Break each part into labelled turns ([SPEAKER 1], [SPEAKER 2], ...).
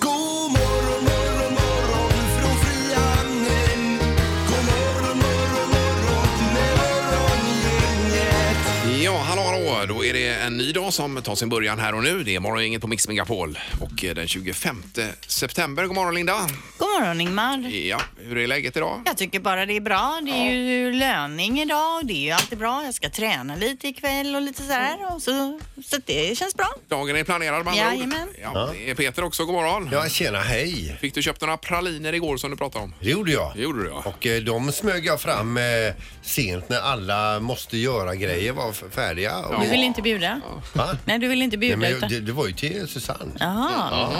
[SPEAKER 1] God morgon, morgon, morgon från Frihamnen. God morgon, morgon, morgon med morgongänget.
[SPEAKER 2] Ja, hallå, hallå. Då är det en ny dag som tar sin början här och nu. Det är Morgongänget på Mix Megapol och eh, den 25 september. God morgon, Linda.
[SPEAKER 3] God morgon Ingmar.
[SPEAKER 2] Ja, hur är läget idag?
[SPEAKER 3] Jag tycker bara det är bra. Det är ju löning idag och det är ju alltid bra. Jag ska träna lite ikväll och lite sådär. Och så, så att det känns bra.
[SPEAKER 2] Dagen är planerad med andra ord.
[SPEAKER 3] Jajamän.
[SPEAKER 2] Ja, det är Peter också. God morgon.
[SPEAKER 4] Ja, tjena, hej.
[SPEAKER 2] Fick du köpt några praliner igår som du pratade om?
[SPEAKER 4] Det gjorde jag.
[SPEAKER 2] Det gjorde du, ja.
[SPEAKER 4] Och eh, de smög jag fram eh, sent när alla måste göra-grejer var f- färdiga. Och,
[SPEAKER 3] Du vill inte bjuda?
[SPEAKER 4] Va?
[SPEAKER 3] Nej, du vill inte
[SPEAKER 4] Nej,
[SPEAKER 3] bjuda
[SPEAKER 4] men jag,
[SPEAKER 3] utan...
[SPEAKER 4] det, det var ju till Susanne.
[SPEAKER 3] Jaha,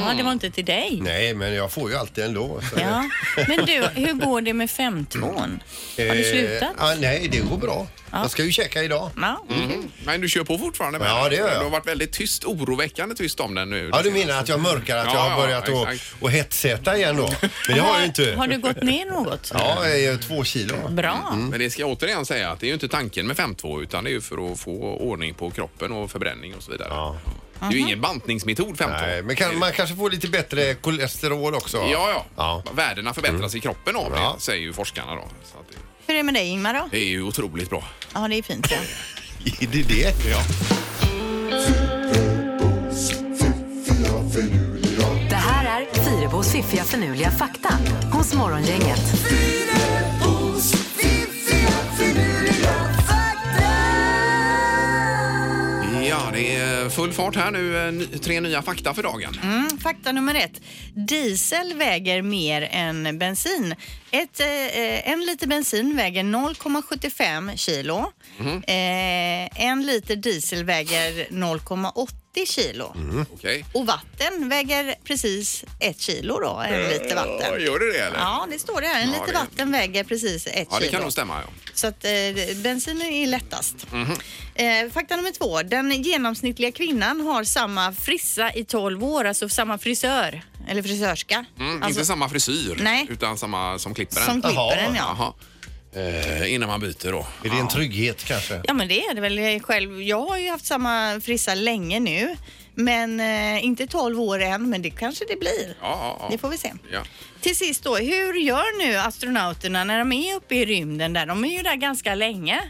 [SPEAKER 3] ja, det var inte till dig.
[SPEAKER 4] Nej, men jag får ju alltid ändå. Så.
[SPEAKER 3] Ja. Men du, hur går det med 52an? Har du
[SPEAKER 4] Eh,
[SPEAKER 3] slutat?
[SPEAKER 4] ah, nej, det går bra. Jag ska ju checka idag.
[SPEAKER 3] Ja.
[SPEAKER 4] Mm.
[SPEAKER 2] Men du kör på fortfarande med
[SPEAKER 4] Ja,
[SPEAKER 2] den.
[SPEAKER 4] det gör jag.
[SPEAKER 2] Du har varit väldigt tyst, oroväckande tyst om den nu.
[SPEAKER 4] Ja, du menar att jag mörkar att
[SPEAKER 2] Ja,
[SPEAKER 4] jag har
[SPEAKER 2] ja,
[SPEAKER 4] börjat
[SPEAKER 2] exakt.
[SPEAKER 4] att, att hetsäta igen då? Men det har jag ju
[SPEAKER 3] Har
[SPEAKER 4] inte.
[SPEAKER 3] du gått ner något?
[SPEAKER 4] Ja, Mm. eh, två kilo.
[SPEAKER 3] Bra.
[SPEAKER 2] Men det ska jag återigen säga att det är ju inte tanken med 5-2 utan det är ju för att få ordning på kroppen och förbränning och så vidare.
[SPEAKER 4] Ja.
[SPEAKER 2] Det är ju ingen bantningsmetod 5-2.
[SPEAKER 4] Nej, men kan, man kanske får lite bättre kolesterol också.
[SPEAKER 2] Ja, ja.
[SPEAKER 4] Ja. Mm.
[SPEAKER 2] Värdena förbättras i kroppen av det,
[SPEAKER 4] Ja.
[SPEAKER 2] säger ju forskarna då. Så att det,
[SPEAKER 3] Hur är det med dig Ingmar
[SPEAKER 4] Eh.
[SPEAKER 3] då?
[SPEAKER 2] det är ju otroligt bra.
[SPEAKER 3] Ja, det är fint. Ja.
[SPEAKER 4] Är det det?
[SPEAKER 2] Ja.
[SPEAKER 5] Det här är Fyrabos fiffiga förnuliga fakta hos Morgongänget.
[SPEAKER 1] Fyrabos fiffiga finurliga fakta.
[SPEAKER 2] ja, det är full fart här nu. eh, ny- Tre nya fakta för dagen.
[SPEAKER 3] Mm, fakta nummer ett. Diesel väger mer än bensin. Ett, eh, eh, en liter bensin väger 0,75 kilo.
[SPEAKER 2] Mhm.
[SPEAKER 3] Eh, en liter diesel väger 0,80 kilo.
[SPEAKER 2] Okej.
[SPEAKER 3] Och vatten väger precis ett kilo då, en liter
[SPEAKER 2] Ja,
[SPEAKER 3] vatten.
[SPEAKER 2] Gör det det eller?
[SPEAKER 3] Ja, det står det här. En
[SPEAKER 2] Ja,
[SPEAKER 3] liter
[SPEAKER 2] det-
[SPEAKER 3] vatten väger precis ett
[SPEAKER 2] Ja, det kan
[SPEAKER 3] kilo.
[SPEAKER 2] nog stämma. Ja. Mm,
[SPEAKER 3] Så att eh, bensinen är lättast.
[SPEAKER 2] Mhm.
[SPEAKER 3] Eh, fakta nummer två. Den genomsnittliga kvinnan har samma frissa i 12 år, alltså samma frisör eller frisörska.
[SPEAKER 2] Mm,
[SPEAKER 3] alltså,
[SPEAKER 2] inte samma frisyr,
[SPEAKER 3] Nej.
[SPEAKER 2] utan samma som klipper den.
[SPEAKER 3] som klipper
[SPEAKER 4] Jaha.
[SPEAKER 3] den ja.
[SPEAKER 2] Jaha. Eh, innan man byter då.
[SPEAKER 4] Är det en trygghet kanske?
[SPEAKER 3] Ja men det är det väl själv. Jag har ju haft samma frissa länge nu. Men eh, inte 12 år än, men det kanske det blir.
[SPEAKER 2] Ja, ja, ja.
[SPEAKER 3] Det får vi se.
[SPEAKER 2] Ja.
[SPEAKER 3] Till sist då, hur gör nu astronauterna när de är uppe i rymden där? De är ju där ganska länge.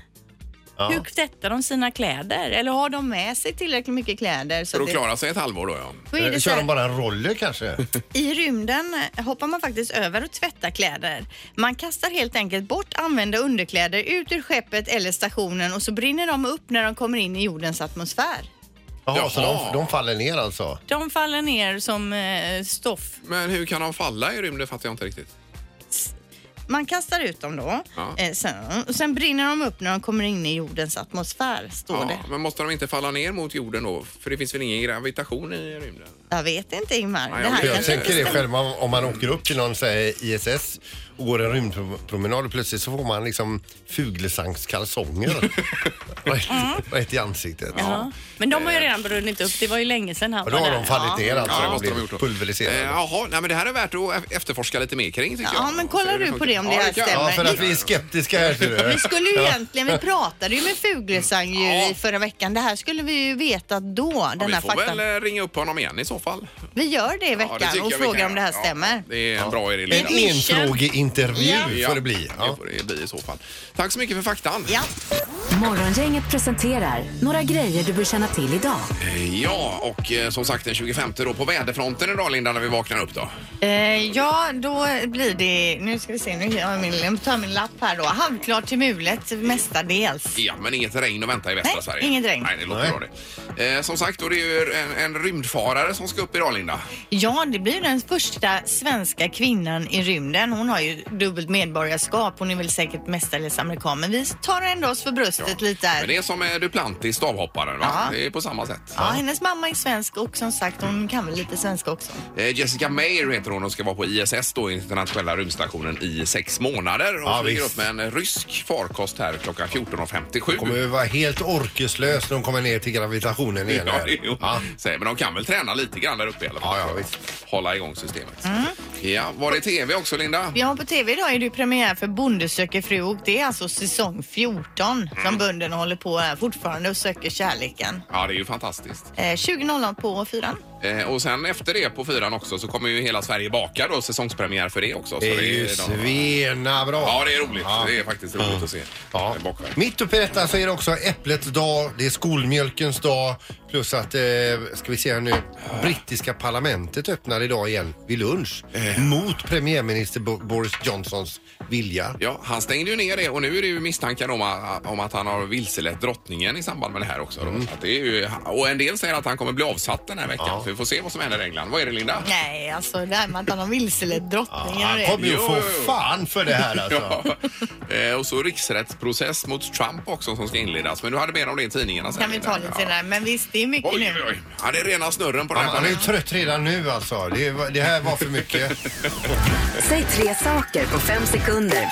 [SPEAKER 3] Hur tvättar de sina kläder? Eller har de med sig tillräckligt mycket kläder? Så
[SPEAKER 2] För att
[SPEAKER 3] det-
[SPEAKER 2] klara sig ett halvår då ja.
[SPEAKER 3] Då är det
[SPEAKER 4] Eh,
[SPEAKER 3] så
[SPEAKER 4] Kör de
[SPEAKER 3] här,
[SPEAKER 4] bara en roller kanske?
[SPEAKER 3] I rymden hoppar man faktiskt över och tvättar kläder. Man kastar helt enkelt bort använda underkläder ut ur skeppet eller stationen och så brinner de upp när de kommer in i jordens atmosfär.
[SPEAKER 2] Jaha.
[SPEAKER 4] Jaha, så de, de faller ner alltså?
[SPEAKER 3] De faller ner som eh, stoff.
[SPEAKER 2] Men hur kan de falla i rymden fattar jag inte riktigt.
[SPEAKER 3] Man kastar ut dem då.
[SPEAKER 2] Ja.
[SPEAKER 3] Eh, sen, och sen brinner de upp när de kommer in i jordens atmosfär, står
[SPEAKER 2] Ja,
[SPEAKER 3] det.
[SPEAKER 2] men måste de inte falla ner mot jorden då? För det finns väl ingen gravitation i rymden?
[SPEAKER 3] Jag vet inte Ingmar.
[SPEAKER 2] Nej,
[SPEAKER 3] det
[SPEAKER 2] jag
[SPEAKER 3] här
[SPEAKER 2] vet
[SPEAKER 4] Jag
[SPEAKER 3] kanske inte
[SPEAKER 4] tänker det
[SPEAKER 3] stämmer.
[SPEAKER 4] själv om om man åker upp till någon så här, ISS och går en rymdpromenad och plötsligt så får man liksom fuglesångskalsonger rätt, rätt i ansiktet.
[SPEAKER 6] Ja. Men de har ju redan brunnit upp. Det var ju länge sedan han
[SPEAKER 4] Och
[SPEAKER 6] var
[SPEAKER 4] då har
[SPEAKER 6] där.
[SPEAKER 4] de fallit ner alltså
[SPEAKER 2] Ja, det
[SPEAKER 4] och
[SPEAKER 2] måste de ha gjort.
[SPEAKER 4] blivit
[SPEAKER 2] då.
[SPEAKER 4] pulveriserade.
[SPEAKER 2] Eh, jaha, nej, men det här är värt att e- efterforska lite mer kring tycker
[SPEAKER 3] Ja,
[SPEAKER 2] jag.
[SPEAKER 3] men kollar
[SPEAKER 2] Se hur
[SPEAKER 3] du
[SPEAKER 2] funkar.
[SPEAKER 3] på det om det här
[SPEAKER 2] det kan-
[SPEAKER 3] stämmer?
[SPEAKER 4] Ja, för att vi är skeptiska här ser du.
[SPEAKER 3] Vi skulle ju egentligen, vi pratade ju med Fuglesang ju
[SPEAKER 2] Ja.
[SPEAKER 3] i förra veckan. Det här skulle vi ju vetat då,
[SPEAKER 2] Ja,
[SPEAKER 3] den
[SPEAKER 2] vi
[SPEAKER 3] här
[SPEAKER 2] får
[SPEAKER 3] faktan.
[SPEAKER 2] väl eh, ringa upp honom igen i så fall.
[SPEAKER 3] Vi gör det
[SPEAKER 2] Ja,
[SPEAKER 3] i
[SPEAKER 2] det
[SPEAKER 3] veckan
[SPEAKER 2] tycker jag
[SPEAKER 3] och
[SPEAKER 2] vi
[SPEAKER 3] frågar
[SPEAKER 2] kan
[SPEAKER 3] om det här
[SPEAKER 2] göra.
[SPEAKER 3] stämmer.
[SPEAKER 2] Ja, det är en bra idé
[SPEAKER 4] En
[SPEAKER 2] Linda.
[SPEAKER 4] enfrågeintervju får det bli.
[SPEAKER 2] det
[SPEAKER 4] Ja.
[SPEAKER 2] får det bli i så fall. Tack så mycket för faktan.
[SPEAKER 3] Ja.
[SPEAKER 5] Morgongänget presenterar några grejer du bör känna till idag.
[SPEAKER 2] Eh, ja, och eh, som sagt den 25 då på väderfronten idag Linda när vi vaknar upp då.
[SPEAKER 3] Eh, ja, då blir det, nu ska vi se, nu har jag min, jag tar min lapp här då. Halvklart till mulet mestadels.
[SPEAKER 2] Ja, men inget regn att vänta i västra
[SPEAKER 3] Nej,
[SPEAKER 2] Sverige.
[SPEAKER 3] inget regn.
[SPEAKER 2] Nej, det låter
[SPEAKER 4] Nej.
[SPEAKER 2] bra det. Eh, som sagt, då det är ju en, en rymdfarare som ska upp idag Linda.
[SPEAKER 3] Ja, det blir den första svenska kvinnan i rymden. Hon har ju ju dubbelt medborgarskap. Hon är väl säkert mestadels amerikan. Men vi tar ändå oss för bröstet lite
[SPEAKER 2] Men
[SPEAKER 3] där.
[SPEAKER 2] det är som med Duplantis, stavhopparen. Va?
[SPEAKER 3] Ja.
[SPEAKER 2] Det är på samma sätt.
[SPEAKER 3] Ja, hennes mamma är svensk och som sagt hon kan väl lite svenska också.
[SPEAKER 2] Eh, Jessica Meir heter hon och ska vara på ISS, då, internationella rymdstationen, i sex månader. Hon
[SPEAKER 4] Ja,
[SPEAKER 2] flyger
[SPEAKER 4] visst.
[SPEAKER 2] upp med en rysk farkost här klockan 14.57.
[SPEAKER 4] Kommer ju vara helt orkeslös när de kommer ner till gravitationen igen.
[SPEAKER 2] Ja,
[SPEAKER 4] här.
[SPEAKER 2] jo.
[SPEAKER 4] Ja.
[SPEAKER 2] Säg, Men de kan väl träna lite grann där uppe i alla fall.
[SPEAKER 4] Ja, ja,
[SPEAKER 2] för att Hålla igång systemet. Ja, var det tv också Linda?
[SPEAKER 3] Ja, på tv idag är det ju premiär för Bonde söker fru och det är alltså säsong 14 som bönderna håller på här fortfarande och söker kärleken.
[SPEAKER 2] Ja, det är ju fantastiskt.
[SPEAKER 3] Eh, 20.00 på fyran.
[SPEAKER 2] Eh, och sen efter det på fyran också så kommer ju Hela Sverige bakar då säsongspremiär för det också. Så
[SPEAKER 4] Det är ju
[SPEAKER 2] de-
[SPEAKER 4] svena bra.
[SPEAKER 2] Ja, det är roligt.
[SPEAKER 4] Ja.
[SPEAKER 2] Det är faktiskt roligt att se.
[SPEAKER 4] Ja.
[SPEAKER 2] Eh, bakverk.
[SPEAKER 4] Mitt uppe i detta så är det också äpplets dag, det är skolmjölkens dag plus att, eh, ska vi se här nu, brittiska parlamentet öppnar idag igen vid lunch
[SPEAKER 2] Eh.
[SPEAKER 4] mot premiärminister Bo- Boris Johnsons vilja.
[SPEAKER 2] Ja, han stängde ju ner det och nu är det ju misstankar om, a- om att han har vilselett drottningen i samband med det här också. då.
[SPEAKER 4] Mm.
[SPEAKER 2] Så Att det är ju, och en del säger att han kommer bli avsatt den här veckan. Så vi får se vad som händer i England. Vad är det Linda?
[SPEAKER 3] Nej, alltså det här med att han har vilselett drottningen och
[SPEAKER 4] Han
[SPEAKER 3] det.
[SPEAKER 4] kommer ju
[SPEAKER 2] Jo,
[SPEAKER 4] få
[SPEAKER 2] jo, jo.
[SPEAKER 4] fan för det här alltså.
[SPEAKER 2] Eh, och så riksrättsprocess mot Trump också som ska inledas. Men du hade mer om det i tidningarna sen.
[SPEAKER 3] kan vi ta lite
[SPEAKER 2] ja.
[SPEAKER 3] senare. Men visst, det är mycket
[SPEAKER 2] Oj,
[SPEAKER 3] nu.
[SPEAKER 2] oj, oj. Ja, det är rena snurren på den
[SPEAKER 4] Han,
[SPEAKER 2] här
[SPEAKER 4] han är ju
[SPEAKER 2] planeten.
[SPEAKER 4] trött redan nu alltså. Det, var- det här var för mycket.
[SPEAKER 5] Säg tre saker på fem sekunder.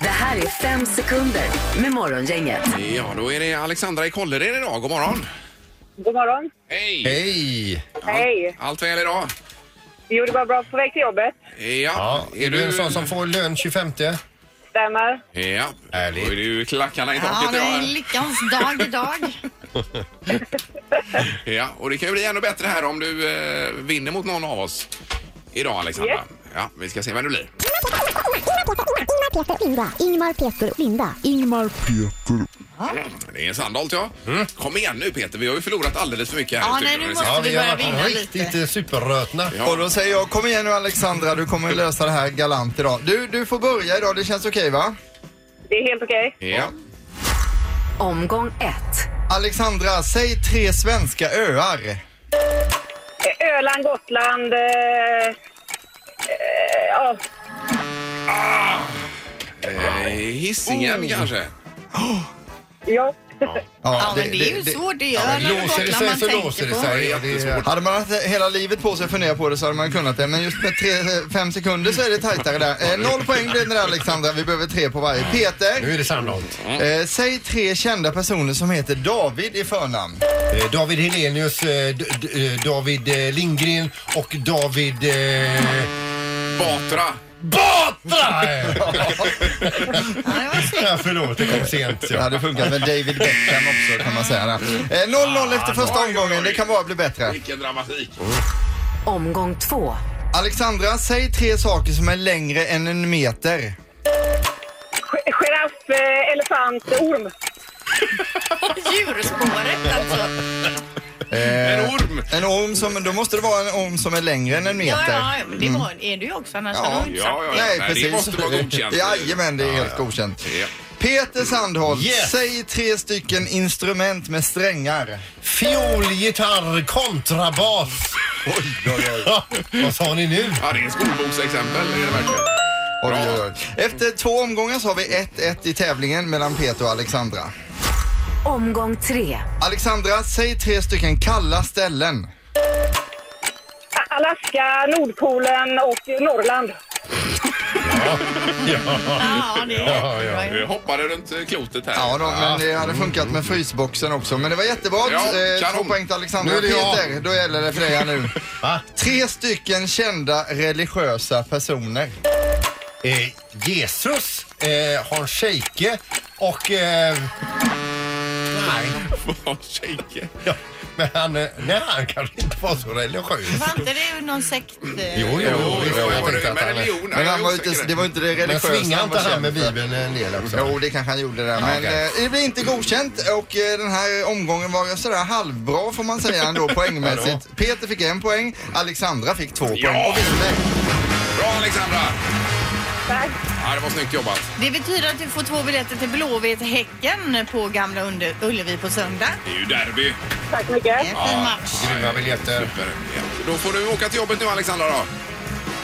[SPEAKER 5] Det här är fem sekunder med Morgongänget.
[SPEAKER 2] Ja, då är det Alexandra i Kållered idag. God morgon!
[SPEAKER 7] God morgon.
[SPEAKER 2] Hej!
[SPEAKER 4] Hej!
[SPEAKER 7] Hej.
[SPEAKER 2] Allt väl idag?
[SPEAKER 7] Vi gjorde bara bra på väg till jobbet.
[SPEAKER 2] Ja.
[SPEAKER 4] Ja, är du en sån som får lön 25?
[SPEAKER 7] Stämmer.
[SPEAKER 2] Ja.
[SPEAKER 4] Härligt.
[SPEAKER 2] Då är det ju klackarna i
[SPEAKER 3] Ja,
[SPEAKER 2] taket.
[SPEAKER 3] det är
[SPEAKER 2] idag.
[SPEAKER 3] lyckans dag idag.
[SPEAKER 2] Ja, och det kan ju bli ännu bättre här om du eh, vinner mot någon av oss idag, Alexandra.
[SPEAKER 7] Yes.
[SPEAKER 2] Ja, vi ska se vem det blir. Det är Sandholt, ja.
[SPEAKER 1] Mm.
[SPEAKER 2] Kom igen nu, Peter. Vi har ju förlorat alldeles för mycket här
[SPEAKER 3] Ja,
[SPEAKER 2] i studion.
[SPEAKER 3] nej, nu
[SPEAKER 2] Vi ska-
[SPEAKER 4] Ja,
[SPEAKER 3] måste
[SPEAKER 4] vi
[SPEAKER 3] vi börja
[SPEAKER 4] har varit
[SPEAKER 3] vinna
[SPEAKER 4] riktigt
[SPEAKER 3] lite.
[SPEAKER 4] eh, superrötna.
[SPEAKER 2] Ja.
[SPEAKER 1] Och då säger jag kom igen nu Alexandra, du kommer lösa det här galant idag. Du, du får börja idag, det känns okej va?
[SPEAKER 7] Det är helt okej.
[SPEAKER 2] Ja.
[SPEAKER 5] Omgång ett.
[SPEAKER 1] Alexandra, säg tre svenska öar.
[SPEAKER 7] Eh, Öland, Gotland... Eh, eh, ja,
[SPEAKER 2] Eh, Hisingen
[SPEAKER 1] Oh.
[SPEAKER 2] kanske?
[SPEAKER 7] ja.
[SPEAKER 3] Ja, men det är ju svårt. Det gör när det
[SPEAKER 4] Låser det sig
[SPEAKER 3] man
[SPEAKER 4] så låser
[SPEAKER 3] tänker
[SPEAKER 4] det
[SPEAKER 3] på.
[SPEAKER 4] sig.
[SPEAKER 2] Ja,
[SPEAKER 4] Ja,
[SPEAKER 2] det
[SPEAKER 4] det
[SPEAKER 2] är
[SPEAKER 4] är,
[SPEAKER 1] Hade man haft hela livet på sig att fundera på det så hade man kunnat det. Men just med tre, eh, fem sekunder så är det tajtare där. Eh, noll poäng blir det där Alexandra, vi behöver tre på varje.
[SPEAKER 4] nu
[SPEAKER 1] Peter,
[SPEAKER 4] är det Sandholt.
[SPEAKER 1] eh, säg tre kända personer som heter David i förnamn.
[SPEAKER 4] Eh, David Helenius, eh, D- D- eh, David eh, Lindgren och David... Eh,
[SPEAKER 2] Batra.
[SPEAKER 4] Batra!
[SPEAKER 3] Ja, det var snyggt.
[SPEAKER 4] ja, förlåt, det kom sent.
[SPEAKER 1] Det
[SPEAKER 4] Ja.
[SPEAKER 1] hade funkat med David Beckham också kan man säga. där. Eh, 0-0 efter första omgången, det kan bara bli bättre. Oh.
[SPEAKER 2] Vilken dramatik.
[SPEAKER 5] Omgång två.
[SPEAKER 1] Alexandra, säg tre saker som är längre än en meter.
[SPEAKER 7] Gi- Giraff, eh, elefant, orm.
[SPEAKER 3] Djurspåret alltså.
[SPEAKER 2] En orm.
[SPEAKER 1] En orm som, då måste det vara en orm som är längre än en
[SPEAKER 3] Ja,
[SPEAKER 1] meter.
[SPEAKER 3] ja, ja, men det
[SPEAKER 4] Mm.
[SPEAKER 3] var, är du ju också annars
[SPEAKER 1] Ja,
[SPEAKER 3] hade du inte sagt
[SPEAKER 2] Ja, ja,
[SPEAKER 3] det.
[SPEAKER 2] ja. Nej, det måste vara godkänt.
[SPEAKER 1] Jajamän, det är helt godkänt.
[SPEAKER 2] Ja.
[SPEAKER 1] Peter Sandholt,
[SPEAKER 4] Yes.
[SPEAKER 1] säg tre stycken instrument med strängar.
[SPEAKER 4] Fiol, gitarr, kontrabas. Vad sa ni nu?
[SPEAKER 2] Ja, det är ett skolboksexempel. Det är det verkligen.
[SPEAKER 1] Oj,
[SPEAKER 2] Bra.
[SPEAKER 1] oj, oj. Efter två omgångar så har vi 1-1 i tävlingen mellan Peter och Alexandra.
[SPEAKER 5] Omgång tre.
[SPEAKER 1] Alexandra, säg tre stycken kalla ställen.
[SPEAKER 7] A- Alaska, Nordpolen och eh, Norrland.
[SPEAKER 3] Ja, det
[SPEAKER 4] Ja, ja.
[SPEAKER 2] Du hoppade runt eh, klotet här.
[SPEAKER 1] Ja, då, men det hade funkat med frysboxen också. Men det var jättebra.
[SPEAKER 2] Ja,
[SPEAKER 1] Eh, Två
[SPEAKER 2] kanon.
[SPEAKER 1] poäng till Alexandra.
[SPEAKER 4] Nu är det jag.
[SPEAKER 1] Peter, då gäller det för dig här nu.
[SPEAKER 4] Va?
[SPEAKER 1] Tre stycken kända religiösa personer.
[SPEAKER 4] Eh, Jesus, eh, Hans Scheike och... Eh, nej,
[SPEAKER 2] Vad shaker.
[SPEAKER 4] ja, men han, eh, nej, han kanske inte var så religiös.
[SPEAKER 3] Var inte det någon sekt? eh,
[SPEAKER 4] Jo, jo,
[SPEAKER 2] Jo,
[SPEAKER 4] jo,
[SPEAKER 2] jo,
[SPEAKER 4] jag
[SPEAKER 2] jo,
[SPEAKER 4] tänkte att
[SPEAKER 2] men
[SPEAKER 4] han... eh,
[SPEAKER 2] religion.
[SPEAKER 1] Men
[SPEAKER 2] nej,
[SPEAKER 1] han var
[SPEAKER 2] jag är
[SPEAKER 1] inte,
[SPEAKER 2] osäker.
[SPEAKER 1] det var inte det
[SPEAKER 4] Men
[SPEAKER 1] religiösa
[SPEAKER 4] svingar
[SPEAKER 1] han var
[SPEAKER 4] inte han
[SPEAKER 1] känd
[SPEAKER 4] med
[SPEAKER 1] för.
[SPEAKER 4] Bibeln en del också?
[SPEAKER 1] Jo, det kanske han gjorde där. Men
[SPEAKER 4] okej.
[SPEAKER 1] eh, det blev inte godkänt och eh, den här omgången var sådär halvbra får man säga ändå poängmässigt. Peter fick en poäng, Alexandra fick två poäng.
[SPEAKER 2] Ja.
[SPEAKER 1] Och vinner.
[SPEAKER 2] Bra, Alexandra.
[SPEAKER 7] Tack.
[SPEAKER 2] Ja, det var snyggt jobbat.
[SPEAKER 3] Det betyder att du får två biljetter till Blåvitt-Häcken på Gamla Under- Ullevi på söndag.
[SPEAKER 2] Det är ju derby.
[SPEAKER 7] Tack så mycket.
[SPEAKER 3] En fin match.
[SPEAKER 4] Grymma biljetter.
[SPEAKER 2] Super. Ja. Då får du åka till jobbet nu, Alexandra. Då.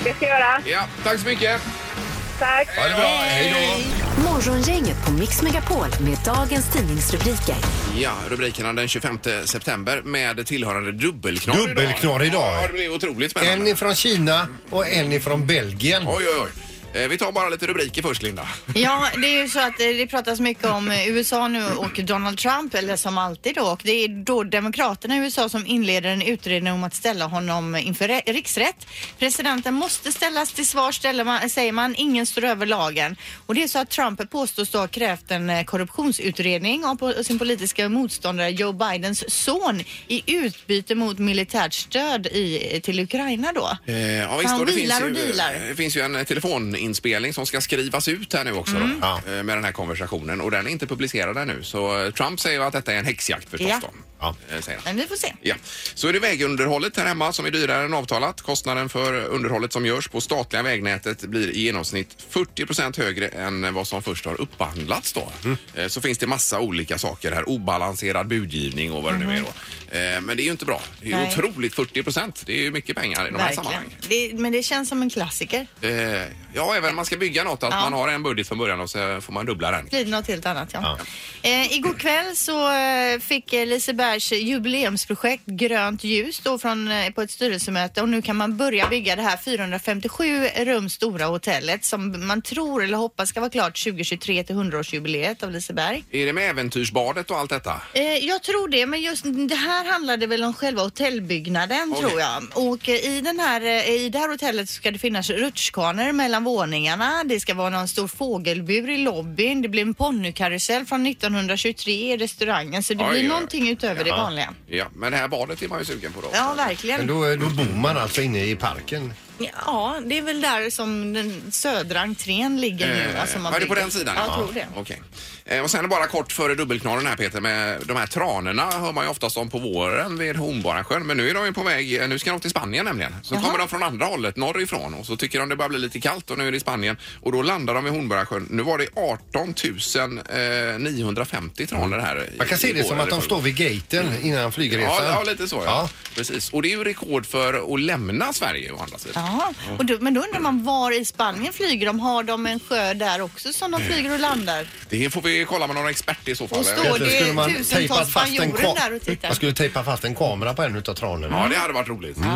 [SPEAKER 7] Det ska jag göra.
[SPEAKER 2] Ja, tack så mycket.
[SPEAKER 7] Tack.
[SPEAKER 4] Ha det bra, hej då!
[SPEAKER 5] Morgongänget på Mix Megapol med dagens tidningsrubriker.
[SPEAKER 2] Ja, rubrikerna den 25 september med tillhörande dubbelknorr
[SPEAKER 4] Dubbelknorr idag.
[SPEAKER 2] Ja, det blir otroligt
[SPEAKER 4] En
[SPEAKER 2] spännande.
[SPEAKER 4] ifrån Kina och en ifrån Belgien.
[SPEAKER 2] Oj, oj, oj. Eh, Vi tar bara lite rubriker först, Linda.
[SPEAKER 3] Ja, det är ju så att eh, det pratas mycket om eh, USA nu och Donald Trump, eller som alltid då. Och det är då Demokraterna i USA som inleder en utredning om att ställa honom inför re- riksrätt. Presidenten måste ställas till svars, ställer man, säger man. Ingen står över lagen. Och det är så att Trump påstås då ha krävt en eh, korruptionsutredning av po- sin politiska motståndare Joe Bidens son i utbyte mot militärt stöd i, till Ukraina då.
[SPEAKER 2] Eh, Ja, visst,
[SPEAKER 3] Han
[SPEAKER 2] och det
[SPEAKER 3] wheelar
[SPEAKER 2] finns ju,
[SPEAKER 3] och dealar.
[SPEAKER 2] Det finns ju en eh, telefoninspelning som ska skrivas ut här nu också
[SPEAKER 3] Mm.
[SPEAKER 2] då,
[SPEAKER 4] Ja.
[SPEAKER 2] eh, med den här konversationen och den är inte publicerad ännu. Så eh, Trump säger ju att detta är en häxjakt förstås
[SPEAKER 3] Ja.
[SPEAKER 2] då.
[SPEAKER 4] Ja.
[SPEAKER 2] eh, Säger han.
[SPEAKER 3] Men vi får se.
[SPEAKER 2] Ja. Så är det vägunderhållet här hemma som är dyrare än avtalat. Kostnaden för underhållet som görs på statliga vägnätet blir i genomsnitt 40 högre än vad som först har upphandlats. Då. Eh, Så finns det massa olika saker här. Obalanserad budgivning och vad det nu är. Då. Eh, Men det är ju inte bra. Det är ju
[SPEAKER 3] Mm. Nej.
[SPEAKER 2] otroligt 40 Det är ju mycket pengar i de här sammanhangen.
[SPEAKER 3] Det, men det känns som en klassiker.
[SPEAKER 2] Eh, ja, även om man ska bygga något, att
[SPEAKER 3] Ja.
[SPEAKER 2] man har en budget från början och så får man dubbla den.
[SPEAKER 3] blir det något helt annat. Ja. Eh, igår kväll så eh, fick eh, Lisebergs jubileumsprojekt grönt ljus då från, eh, på ett styrelsemöte och nu kan man börja bygga det här 457 rum stora hotellet som man tror eller hoppas ska vara klart 2023 till 100-årsjubileet av Liseberg.
[SPEAKER 2] Är det med äventyrsbadet och allt detta?
[SPEAKER 3] Eh, jag tror det, men just det här handlade väl om själva hotellbyggnaden
[SPEAKER 2] Okej.
[SPEAKER 3] tror jag. Och eh, i, den här, eh, i det här hotellet så ska det finnas rutschkanor mellan våningarna. Det ska vara någon stor fågelbur i lobbyn. Det blir en ponnykarusell från 1923 i restaurangen. Så det
[SPEAKER 2] Oj,
[SPEAKER 3] blir
[SPEAKER 2] oj.
[SPEAKER 3] någonting utöver det vanliga.
[SPEAKER 2] Ja, men det här badet är man ju sugen på då.
[SPEAKER 3] Ja,
[SPEAKER 4] Men
[SPEAKER 3] verkligen.
[SPEAKER 4] då, då bor man alltså inne i parken.
[SPEAKER 3] Ja, det är väl där som den södra entrén ligger nu.
[SPEAKER 2] Eh,
[SPEAKER 3] Alltså man
[SPEAKER 2] var det på
[SPEAKER 3] bygger.
[SPEAKER 2] den sidan?
[SPEAKER 3] Ja, jag tror det.
[SPEAKER 2] Okej. Eh, och sen bara kort före dubbelknaren här Peter, med de här tranorna hör man ju oftast om på våren vid Hornborgasjön. Men nu är de ju på väg, eh, nu ska de till Spanien nämligen. Så kommer de från andra hållet, norrifrån och så tycker de det börjar bli lite kallt och nu är det i Spanien. Och då landar de vid Hornborgasjön. Nu var det 18 000, eh, 950 tranor här. i-
[SPEAKER 4] Man kan se det
[SPEAKER 2] igår
[SPEAKER 4] som
[SPEAKER 2] eller
[SPEAKER 4] att de
[SPEAKER 2] förrgår.
[SPEAKER 4] står vid gaten innan flygresan.
[SPEAKER 2] Ja, ja, lite så. Ja. Precis. Och det är ju rekord för att lämna Sverige å andra sidan.
[SPEAKER 3] Jaha, och då, men då undrar man var i Spanien flyger de? Har de en sjö där också som
[SPEAKER 2] Mm.
[SPEAKER 3] de flyger och landar?
[SPEAKER 2] Det får vi kolla med någon expert i så fall.
[SPEAKER 3] Och står
[SPEAKER 4] Egentligen
[SPEAKER 3] det
[SPEAKER 4] skulle man
[SPEAKER 3] tusentals
[SPEAKER 4] tejpat fast en
[SPEAKER 3] spanjorer där och
[SPEAKER 4] ka-
[SPEAKER 3] tittar.
[SPEAKER 4] man skulle tejpa fast en kamera på en utav tranorna.
[SPEAKER 2] Ja, det hade varit roligt
[SPEAKER 3] Mm.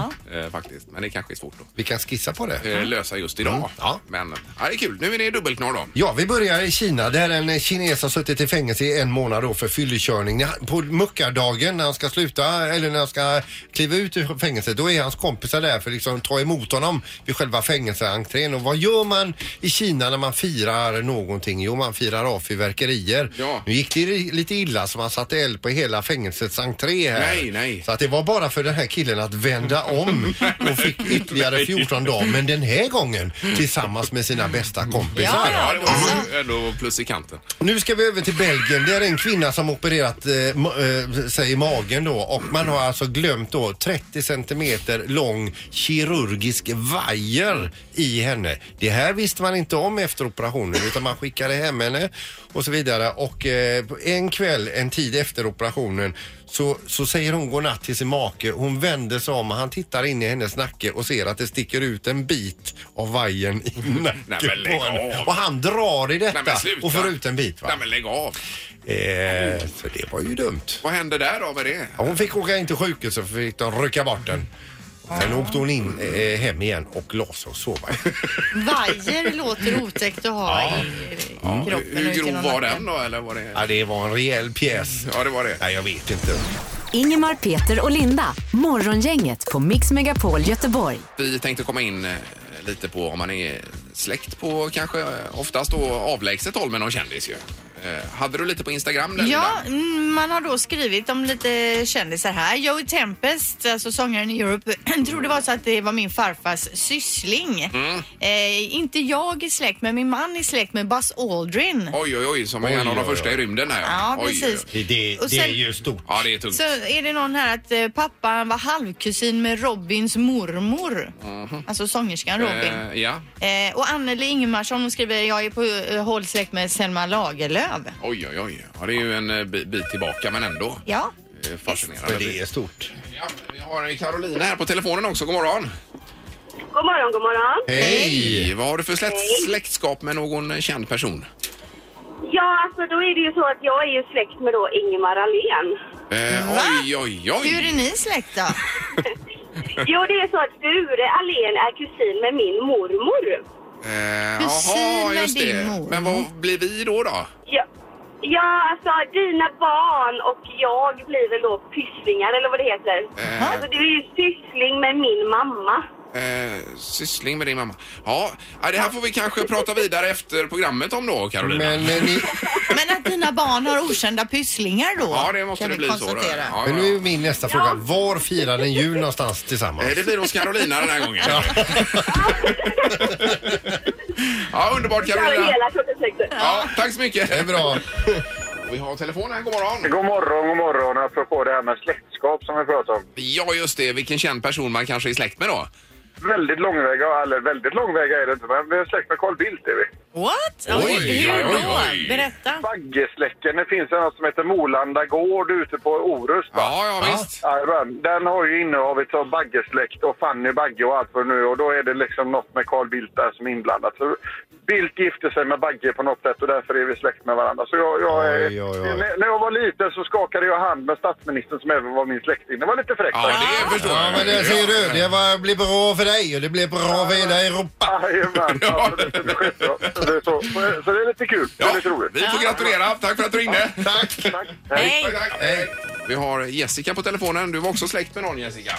[SPEAKER 2] eh, faktiskt. Men det kanske är svårt att
[SPEAKER 4] Vi kan skissa på det.
[SPEAKER 2] eh, lösa just idag.
[SPEAKER 4] Mm. Ja.
[SPEAKER 2] Men ja, det är kul. Nu är det dubbelknorr då.
[SPEAKER 4] Ja, vi börjar i Kina där en kines har suttit i fängelse i en månad då för fyllekörning. När han- På muckardagen när han ska sluta eller när han ska kliva ut ur fängelset då är hans kompisar där för att liksom ta emot honom vid själva fängelseentrén. Och vad gör man i Kina när man firar någonting? Jo, man firar av fyrverkerier.
[SPEAKER 2] Ja.
[SPEAKER 4] Nu gick det lite illa så man satte eld på hela fängelsets entré här.
[SPEAKER 2] Nej, nej.
[SPEAKER 4] Så att det var bara för den här killen att vända om och fick ytterligare 14 dagar. Men den här gången tillsammans med sina bästa kompisar.
[SPEAKER 3] Ja,
[SPEAKER 2] Ja, det var ju ändå plus i kanten.
[SPEAKER 4] Nu ska vi över till Belgien. Det är en kvinna som opererat eh, ma- eh, sig i magen då och man har alltså glömt då 30 centimeter lång kirurgisk vajer i henne. Det här visste man inte om efter operationen utan man skickade hem henne och så vidare och eh, en kväll, en tid efter operationen så, så säger hon godnatt till sin make. Hon vänder sig om och han tittar in i hennes nacke och ser att det sticker ut en bit av vajern i
[SPEAKER 2] men
[SPEAKER 4] nacken
[SPEAKER 2] lägg
[SPEAKER 4] på henne.
[SPEAKER 2] av.
[SPEAKER 4] Och han drar i detta
[SPEAKER 2] Nej, men sluta.
[SPEAKER 4] och får ut en bit. Va?
[SPEAKER 2] Nej, men lägg av.
[SPEAKER 4] Eh, så det var ju dumt.
[SPEAKER 2] Vad hände där då med det?
[SPEAKER 4] Ja, Hon fick åka in till sjukhuset för fick de rycka bort den. Sen åkte hon in eh, hem igen och la sig och sova.
[SPEAKER 3] Vajer låter otäckt att ha i, i kroppen. och
[SPEAKER 2] Hur
[SPEAKER 3] ut
[SPEAKER 2] grov
[SPEAKER 3] genom
[SPEAKER 2] var
[SPEAKER 3] nacken.
[SPEAKER 2] den då? Eller var det...
[SPEAKER 4] ja, det var en rejäl pjäs.
[SPEAKER 2] Ja, det var det.
[SPEAKER 4] Nej, jag vet inte.
[SPEAKER 5] Ingemar, Peter och Linda. Morgongänget på Mix Megapol Göteborg.
[SPEAKER 2] Vi tänkte komma in eh, lite på om man är släkt på kanske eh, oftast då avlägset håll med någon kändis ju. Eh, hade du lite på Instagram där,
[SPEAKER 3] Ja,
[SPEAKER 2] Linda?
[SPEAKER 3] mm, man har då skrivit om lite kändisar här. Joey Tempest, alltså sångaren i Europe, tror det var så att det var min farfars syssling.
[SPEAKER 2] Mm.
[SPEAKER 3] Eh, inte jag i släkt, men min man är släkt med Buzz Aldrin.
[SPEAKER 2] Oj, oj, oj, som är
[SPEAKER 4] Oj,
[SPEAKER 2] en av de
[SPEAKER 4] oj,
[SPEAKER 2] första
[SPEAKER 4] oj.
[SPEAKER 2] i rymden här.
[SPEAKER 3] Ja,
[SPEAKER 2] Oj,
[SPEAKER 3] precis.
[SPEAKER 2] oj.
[SPEAKER 4] Det, det,
[SPEAKER 3] Och
[SPEAKER 4] det är
[SPEAKER 3] sen-
[SPEAKER 4] ju stort.
[SPEAKER 2] Ja, det är tungt.
[SPEAKER 3] Så är det någon här att eh, pappan var halvkusin med Robins mormor. Alltså sångerskan Robin.
[SPEAKER 2] Mhm. Eh, ja.
[SPEAKER 3] Eh, och Anneli Ingemarsson hon skriver jag är på eh, håll släkt med Selma Lagerlöf.
[SPEAKER 2] Oj, oj, oj. Ja, det är ju en eh, bi- bit tillbaka, men ändå.
[SPEAKER 3] Ja.
[SPEAKER 2] Eh, Fascinerande.
[SPEAKER 4] Men det är stort.
[SPEAKER 2] Ja, vi har Carolina här på telefonen också. God morgon.
[SPEAKER 7] God morgon, god morgon.
[SPEAKER 2] Hej! Vad har du för släkt, släktskap med någon eh, känd person?
[SPEAKER 7] Ja, alltså då är det ju så att jag är ju släkt med då Ingemar Ahlén.
[SPEAKER 2] Eh,
[SPEAKER 3] Va?
[SPEAKER 2] oj, oj, oj!
[SPEAKER 3] Hur är ni släkt då?
[SPEAKER 7] Jo, det är så att Sture Ahlén är kusin med min mormor.
[SPEAKER 2] Eh,
[SPEAKER 3] Kusin
[SPEAKER 2] jaha,
[SPEAKER 3] med
[SPEAKER 2] just
[SPEAKER 3] din
[SPEAKER 2] det.
[SPEAKER 3] mor.
[SPEAKER 2] Men vad blir vi då? då?
[SPEAKER 7] Ja, ja alltså dina barn och jag blir väl då pysslingar eller vad det heter.
[SPEAKER 2] Eh.
[SPEAKER 7] Alltså du är ju syssling med min mamma.
[SPEAKER 2] Eh, syssling med din mamma. Ja, ja, det här får vi kanske prata vidare efter programmet om då, Carolina.
[SPEAKER 4] Men, eh, ni,
[SPEAKER 3] Men att dina barn har okända pysslingar då?
[SPEAKER 2] ja, det måste
[SPEAKER 3] kan
[SPEAKER 2] det
[SPEAKER 3] vi
[SPEAKER 2] bli så. Då. Ja,
[SPEAKER 3] konstatera.
[SPEAKER 2] ja.
[SPEAKER 4] men nu är min nästa fråga. Var firar ni jul någonstans tillsammans?
[SPEAKER 2] Eh, Det blir hos Carolina den här gången. ja, underbart
[SPEAKER 7] Jag är
[SPEAKER 2] Carolina.
[SPEAKER 7] hela 46.
[SPEAKER 2] Ja, tack så mycket.
[SPEAKER 4] Det är bra.
[SPEAKER 2] Vi har telefon här, god morgon.
[SPEAKER 8] God morgon, god morgon. Apropå det här med släktskap som vi pratade om.
[SPEAKER 2] Ja, just det. Vilken känd person man kanske är släkt med då.
[SPEAKER 8] Väldigt långväga, eller väldigt långväga är det inte, men vi är släkt med Carl Bildt. Är vi.
[SPEAKER 6] What?
[SPEAKER 2] Oj,
[SPEAKER 6] Oj, hur
[SPEAKER 2] oj,
[SPEAKER 6] då?
[SPEAKER 2] oj.
[SPEAKER 6] Berätta.
[SPEAKER 8] Baggesläcken, det finns en som heter Molanda gård ute på Orust. va?
[SPEAKER 2] Ja, ja, visst.
[SPEAKER 8] Jajamän. Den har ju innehavet av Baggesläkt och Fanny Bagge och allt vad nu och då är det liksom något med Carl Bildt där som är inblandat. Så Bildt gifte sig med Bagge på något sätt och därför är vi släkt med varandra. Så jag, jag, är-
[SPEAKER 4] Oj, oj, oj.
[SPEAKER 8] När- När jag var liten så skakade jag hand med statsministern som även var min släkting. Det var lite fräckt.
[SPEAKER 2] Ja, det förstår
[SPEAKER 4] Ja,
[SPEAKER 2] jag.
[SPEAKER 4] men det ser du. Det var, blir bra för dig och det blir bra för hela Europa.
[SPEAKER 8] Jajamän, alltså, det, det, det, det, det, så, så det är lite kul. Det är
[SPEAKER 2] Ja,
[SPEAKER 8] lite roligt.
[SPEAKER 2] vi får gratulera. Tack för att du ringde.
[SPEAKER 4] Tack!
[SPEAKER 8] Tack.
[SPEAKER 6] Hej.
[SPEAKER 2] Tack. Vi har Jessica på telefonen. Du var också släkt med någon, Jessica.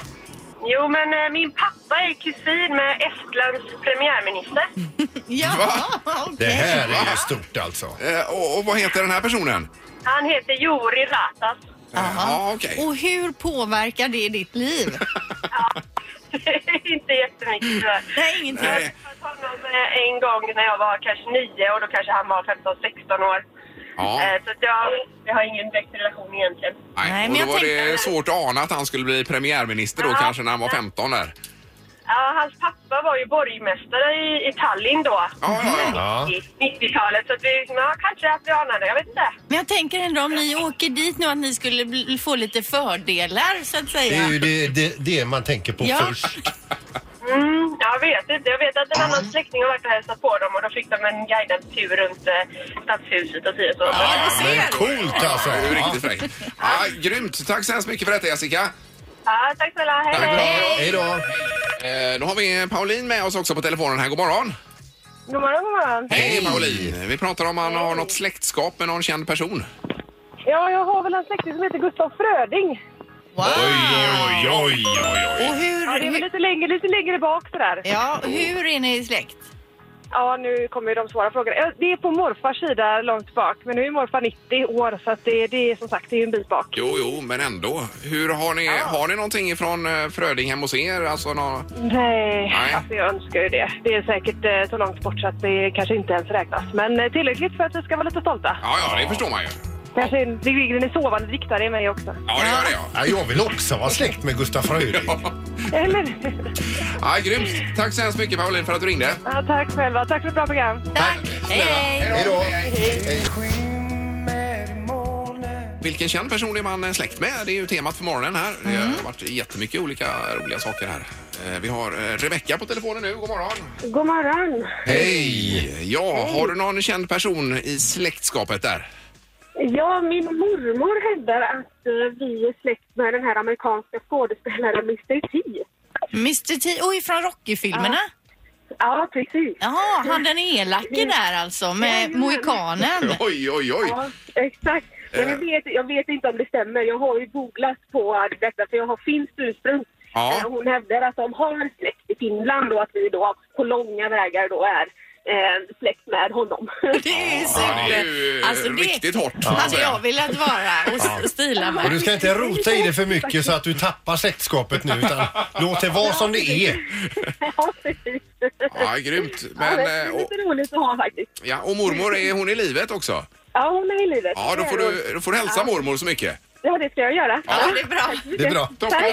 [SPEAKER 7] Jo, men eh, min pappa är kusin med Estlands premiärminister.
[SPEAKER 3] Ja, okej.
[SPEAKER 4] Det här är ju stort alltså.
[SPEAKER 2] Eh, och, och vad heter den här personen?
[SPEAKER 7] Han heter Jori Ratas.
[SPEAKER 2] Aha. Ja, okej.
[SPEAKER 3] Och hur påverkar det ditt liv?
[SPEAKER 7] Inte jättemycket tyvärr.
[SPEAKER 3] Nej, ingenting.
[SPEAKER 7] Jag träffade honom eh, en gång när jag var kanske nio och då kanske han var 15-16 år.
[SPEAKER 2] Ja,
[SPEAKER 7] Eh, Så att jag, jag har ingen direkt relation egentligen.
[SPEAKER 2] nej.
[SPEAKER 3] Nej,
[SPEAKER 2] Och
[SPEAKER 3] men
[SPEAKER 2] då
[SPEAKER 3] jag
[SPEAKER 2] var det
[SPEAKER 3] tänkte-
[SPEAKER 2] svårt att ana att han skulle bli premiärminister då
[SPEAKER 7] Ja.
[SPEAKER 2] kanske när han var 15 där.
[SPEAKER 7] Ja, hans pappa var ju borgmästare i, i Tallinn då.
[SPEAKER 2] Ja, ja,
[SPEAKER 3] Mm,
[SPEAKER 2] ja.
[SPEAKER 4] Ja.
[SPEAKER 7] I 90-talet. Så att vi, ja, kanske att vi anade, jag vet inte.
[SPEAKER 3] Men jag tänker ändå om ni åker dit nu att ni skulle bli- få lite fördelar så att
[SPEAKER 4] Det är
[SPEAKER 3] säga.
[SPEAKER 4] ju det, det, det man tänker på
[SPEAKER 3] Ja.
[SPEAKER 4] först.
[SPEAKER 7] Mm, jag vet inte. Jag vet att en annan släkting har varit och hälsat på dem och då fick de en guidad tur runt eh, stadshuset och si och så.
[SPEAKER 3] Ja, du
[SPEAKER 4] Men
[SPEAKER 3] ser.
[SPEAKER 4] coolt alltså!
[SPEAKER 2] Det är ju
[SPEAKER 4] Ja.
[SPEAKER 2] riktigt fräckt. Ja, grymt! Tack så hemskt mycket för detta Jessica.
[SPEAKER 7] Ja, tack snälla. Hej,
[SPEAKER 2] Tack,
[SPEAKER 7] hej.
[SPEAKER 2] bra.
[SPEAKER 4] Hej då!
[SPEAKER 2] Eh, då har vi Pauline med oss också på telefonen här. God morgon!
[SPEAKER 7] God morgon, god morgon.
[SPEAKER 2] Hej Pauline! Vi pratar om man har något släktskap med någon känd person.
[SPEAKER 7] Ja, jag har väl en släkting som heter Gustav Fröding.
[SPEAKER 3] Wow.
[SPEAKER 4] Oj, oj, oj, oj.
[SPEAKER 3] Och hur,
[SPEAKER 7] Ja, det är väl
[SPEAKER 3] hur,
[SPEAKER 7] lite längre, lite längre bak sådär.
[SPEAKER 3] ja, hur är ni släkt?
[SPEAKER 7] Ja, nu kommer ju de svåra frågorna. Ja, Det är på morfars sida långt bak, men nu är morfar 90 år så att det, det är som sagt det är en bit bak.
[SPEAKER 2] Jo, jo, men ändå. Hur har ni, har ni någonting ifrån eh, Fröding hemma hos er? Alltså, nå-
[SPEAKER 7] Nej,
[SPEAKER 2] Nej.
[SPEAKER 7] alltså jag önskar ju det. Det är säkert eh, så långt bort så att det kanske inte ens räknas. Men eh, tillräckligt för att vi ska vara lite stolta.
[SPEAKER 2] ja, ja, det förstår man ju.
[SPEAKER 7] Kanske en Viggen är sovande diktare i mig också.
[SPEAKER 2] Ja, det gör det ja.
[SPEAKER 4] Ja, jag vill också vara släkt med Gustaf Fröding.
[SPEAKER 7] Eller?
[SPEAKER 2] ja grymt! Tack så hemskt mycket Pauline för att du ringde.
[SPEAKER 7] Ja, tack själva. Tack för ett bra program.
[SPEAKER 3] Tack! Hej, hej!
[SPEAKER 4] Hej då!
[SPEAKER 2] Vilken känd person är man eh, släkt med? Det är ju temat för morgonen här. Det har varit jättemycket olika roliga saker här. Eh, Vi har eh, Rebecka på telefonen nu. God morgon!
[SPEAKER 7] God morgon.
[SPEAKER 2] Hej! Ja, har du någon känd person i släktskapet där?
[SPEAKER 7] Ja, min mormor hävdar att eh, vi är släkt med den här amerikanska skådespelaren Mr T.
[SPEAKER 3] Mr T, oj från Rocky-filmerna?
[SPEAKER 7] Ja, precis.
[SPEAKER 3] Jaha, han den elake där alltså med
[SPEAKER 7] Jajamän.
[SPEAKER 3] mohikanen.
[SPEAKER 2] Oj, oj, oj!
[SPEAKER 7] Ja, exakt. Men
[SPEAKER 2] Eh.
[SPEAKER 7] jag, vet, jag vet inte om det stämmer. Jag har ju googlat på detta för jag har finskt ursprung.
[SPEAKER 2] Ja.
[SPEAKER 7] Eh, Hon hävdar att de har släkt i Finland och att vi då på långa vägar då är eh, släkt med honom.
[SPEAKER 3] Det är
[SPEAKER 2] Ja, det är
[SPEAKER 3] super.
[SPEAKER 2] ju
[SPEAKER 3] Alltså, det-
[SPEAKER 2] riktigt hårt. får man
[SPEAKER 3] Hade
[SPEAKER 2] säga.
[SPEAKER 3] jag velat vara och s- stila
[SPEAKER 4] Och
[SPEAKER 3] mig.
[SPEAKER 4] du ska inte rota i det för mycket så att du tappar släktskapet nu utan låt det vara som det är.
[SPEAKER 7] ja, precis.
[SPEAKER 2] Ja, grymt.
[SPEAKER 7] ja,
[SPEAKER 2] Men,
[SPEAKER 7] det är
[SPEAKER 2] eh, och,
[SPEAKER 7] lite roligt att ha faktiskt.
[SPEAKER 2] ja, och mormor, är hon i livet också?
[SPEAKER 7] Ja, hon är i livet.
[SPEAKER 2] Ja, då får du, då får du hälsa mormor så mycket.
[SPEAKER 7] Ja, det ska jag göra.
[SPEAKER 3] Ja, det är bra.
[SPEAKER 4] Det är bra.
[SPEAKER 2] Toppen.
[SPEAKER 4] Tack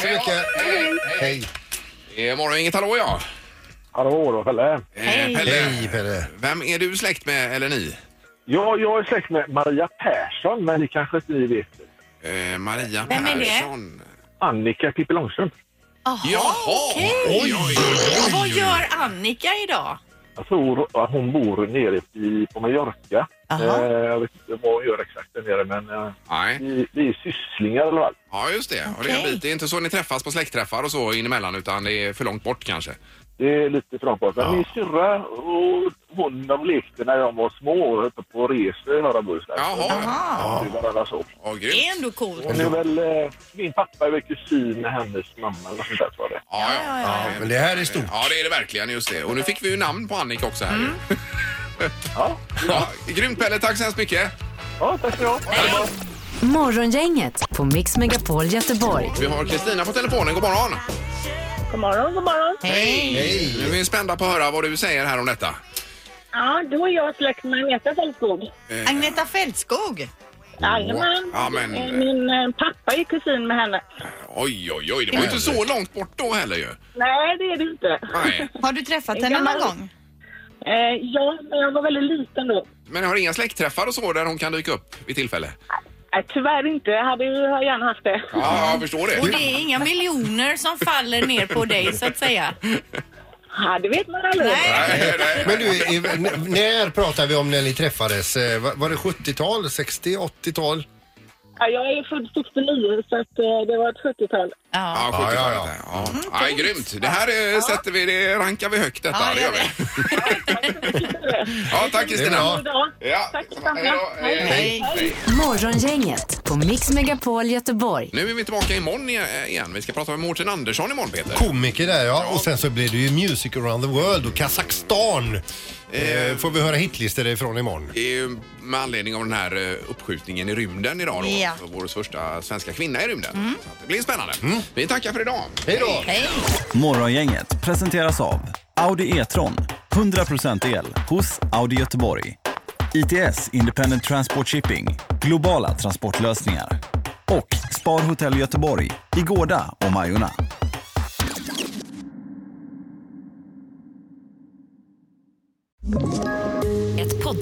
[SPEAKER 4] så
[SPEAKER 3] Hej!
[SPEAKER 4] mycket. Hej.
[SPEAKER 2] Det är Eh, morgon, inget hallå ja.
[SPEAKER 8] Hallå då, Pelle.
[SPEAKER 2] Eh,
[SPEAKER 3] Hej.
[SPEAKER 2] Pelle,
[SPEAKER 4] Hej Pelle.
[SPEAKER 2] vem är du släkt med eller ni?
[SPEAKER 8] Ja, jag är släkt med Maria Persson, men det kanske inte ni vet.
[SPEAKER 2] Eh, Maria
[SPEAKER 3] Vem är det?
[SPEAKER 2] Persson.
[SPEAKER 8] Annika Pippi Långstrump.
[SPEAKER 2] Jaha!
[SPEAKER 3] okej.
[SPEAKER 2] Oj, oj, oj.
[SPEAKER 3] Vad gör Annika idag?
[SPEAKER 9] Jag tror att hon bor nere i, på Mallorca. Eh, jag vet inte vad hon gör exakt där nere, men eh, vi, vi är sysslingar i alla fall.
[SPEAKER 2] Ja, just det. Och det, är en bit. det är inte så ni träffas på släktträffar och så in emellan utan det är för långt bort kanske.
[SPEAKER 9] Det är lite framåt. Men min syrra och hon de lekte när de var små uppe på resor i norra Bohuslän. Jaha! Det var alla så.
[SPEAKER 3] Det är ändå coolt.
[SPEAKER 9] Hon är väl, eh, min pappa är väl kusin med hennes mamma eller sånt där tror jag det
[SPEAKER 2] Ja, ja, ja.
[SPEAKER 4] Men det här är stort.
[SPEAKER 2] Ja, det är det verkligen. Just det. Och nu fick vi ju namn på Annika också här.
[SPEAKER 3] Mm.
[SPEAKER 2] ju. ja. Grymt Pelle, tack så hemskt mycket.
[SPEAKER 9] Ja, tack ska du ha.
[SPEAKER 10] Morgongänget på Mix Megapol Göteborg.
[SPEAKER 2] Vi har Kristina på telefonen. God morgon!
[SPEAKER 7] God morgon, god morgon.
[SPEAKER 2] Hej! Nu är vi spända på att höra vad du säger här om detta.
[SPEAKER 7] Ja, då är jag släkt med Agneta Fältskog.
[SPEAKER 2] Eh.
[SPEAKER 7] Agneta Fältskog? Jajamän.
[SPEAKER 2] Ja, men-
[SPEAKER 7] Eh, Min eh, pappa är kusin med henne.
[SPEAKER 2] Oj, oj, oj. Det var ju inte så långt bort då heller ju.
[SPEAKER 7] Nej, det är det inte.
[SPEAKER 2] Nej.
[SPEAKER 7] Har du träffat
[SPEAKER 11] henne någon gång?
[SPEAKER 7] Eh, ja, men jag var väldigt liten då.
[SPEAKER 2] Men har inga släktträffar och så där hon kan dyka upp vid tillfälle?
[SPEAKER 7] Eh, tyvärr inte. Jag hade ju gärna haft det.
[SPEAKER 2] Ja, jag förstår det.
[SPEAKER 3] Och det är inga miljoner som faller ner på dig så att säga.
[SPEAKER 7] Ja, det vet man aldrig.
[SPEAKER 4] Men du, i- n- när pratar vi om när ni träffades? Eh, va- Var det 70-tal, 60, 80-tal?
[SPEAKER 7] Ja, jag är född 69, så att, eh, det var ett 70-tal.
[SPEAKER 2] Ja, ja, Mm, ja. ja. ja. ja grymt. Det här eh, sätter vi, det rankar vi högt detta. det gör vi. ja, tack Kristina.
[SPEAKER 10] Det är
[SPEAKER 7] bra.
[SPEAKER 2] Ja.
[SPEAKER 7] Tack detsamma.
[SPEAKER 2] Hej. Eh, Hej.
[SPEAKER 10] Morgongänget på Mix Megapol Göteborg.
[SPEAKER 2] Nu är vi tillbaka imorgon i- igen. Vi ska prata med Mårten Andersson imorgon, Peter.
[SPEAKER 4] Komiker där ja. Och sen så blir det ju Music around the world och Kazakstan. Eh, får vi höra hitlistor ifrån imorgon.
[SPEAKER 2] Det är ju med anledning av den här eh, uppskjutningen i rymden idag då.
[SPEAKER 10] Ja.
[SPEAKER 2] Vår första svenska kvinna i rymden. Så att det blir spännande. Vi tackar för idag. Mm. Hej då!
[SPEAKER 5] Morgongänget presenteras av Audi E-tron. 100% el hos Audi Göteborg. ITS Independent Transport Shipping. Globala transportlösningar. Och Spar Hotel Göteborg i Gårda och Majorna.
[SPEAKER 12] Ett